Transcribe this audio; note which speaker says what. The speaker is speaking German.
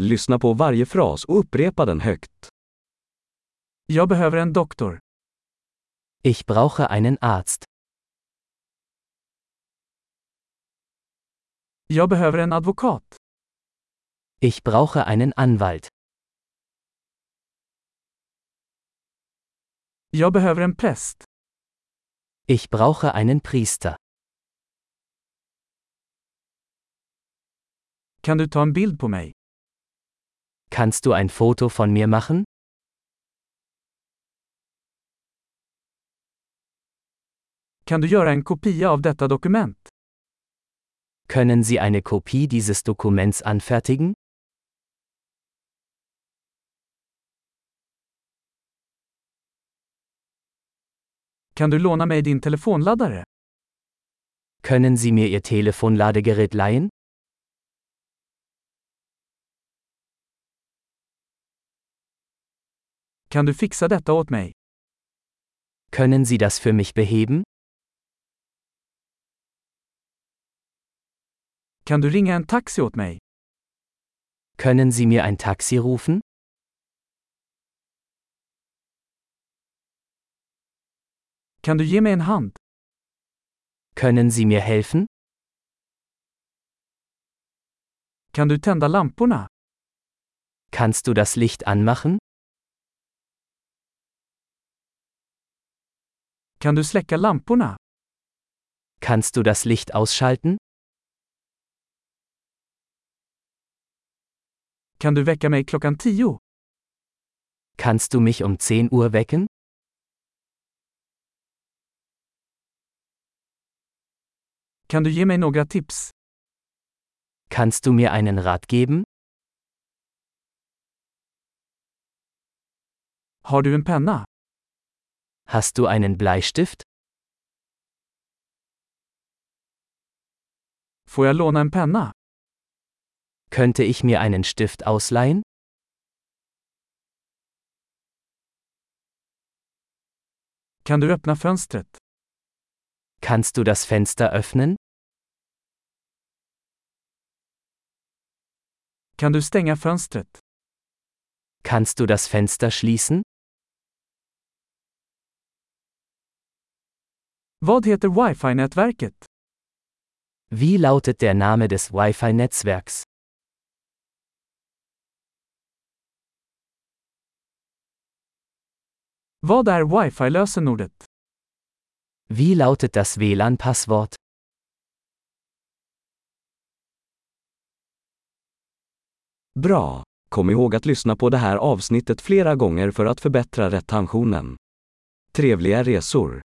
Speaker 1: Lyssna på varje fras och upprepa den högt.
Speaker 2: Jag behöver en doktor.
Speaker 3: Ich brauche einen Arzt.
Speaker 2: Jag behöver en advokat.
Speaker 3: Ich brauche einen Anwalt.
Speaker 2: Jag behöver en präst.
Speaker 3: Ich brauche einen Priester.
Speaker 2: Kan du ta en bild på mig?
Speaker 3: Kannst du ein Foto von mir machen?
Speaker 2: Kan du göra en kopia av detta dokument?
Speaker 3: Können Sie eine Kopie dieses Dokuments anfertigen?
Speaker 2: Kan du låna mig din telefonladdare?
Speaker 3: Können Sie mir Ihr Telefonladegerät leihen?
Speaker 2: Kan du fixa detta åt mig?
Speaker 3: Können Sie das für mich beheben?
Speaker 2: Kan du ringa en taxi åt mig?
Speaker 3: Können Sie mir ein Taxi rufen?
Speaker 2: Kan du ge mig en hand?
Speaker 3: Können Sie mir helfen?
Speaker 2: Kan du tända lamporna?
Speaker 3: Kannst du das Licht anmachen?
Speaker 2: Kan du släcka lamporna?
Speaker 3: Kannst du das Licht ausschalten?
Speaker 2: Kan du väcka mig klockan tio?
Speaker 3: Kannst du mich um 10 Uhr wecken?
Speaker 2: Kan du ge mig några tips?
Speaker 3: Kannst du mir einen Rat geben?
Speaker 2: Har du en penna?
Speaker 3: Hast du einen Bleistift?
Speaker 2: Får jag låna en penna?
Speaker 3: Könnte ich mir einen Stift ausleihen?
Speaker 2: Kan du öppna fönstret?
Speaker 3: Kannst du das Fenster öffnen?
Speaker 2: Kan du stänga fönstret?
Speaker 3: Kannst du das Fenster schließen?
Speaker 2: Vad heter wifi-nätverket?
Speaker 3: Wie lautet der Name des Wi-Fi-Netzwerks?
Speaker 2: Vad är wifi-lösenordet?
Speaker 3: Wie lautet das WLAN-Passwort?
Speaker 1: Bra! Kom ihåg att lyssna på det här avsnittet flera gånger för att förbättra retentionen. Trevliga resor!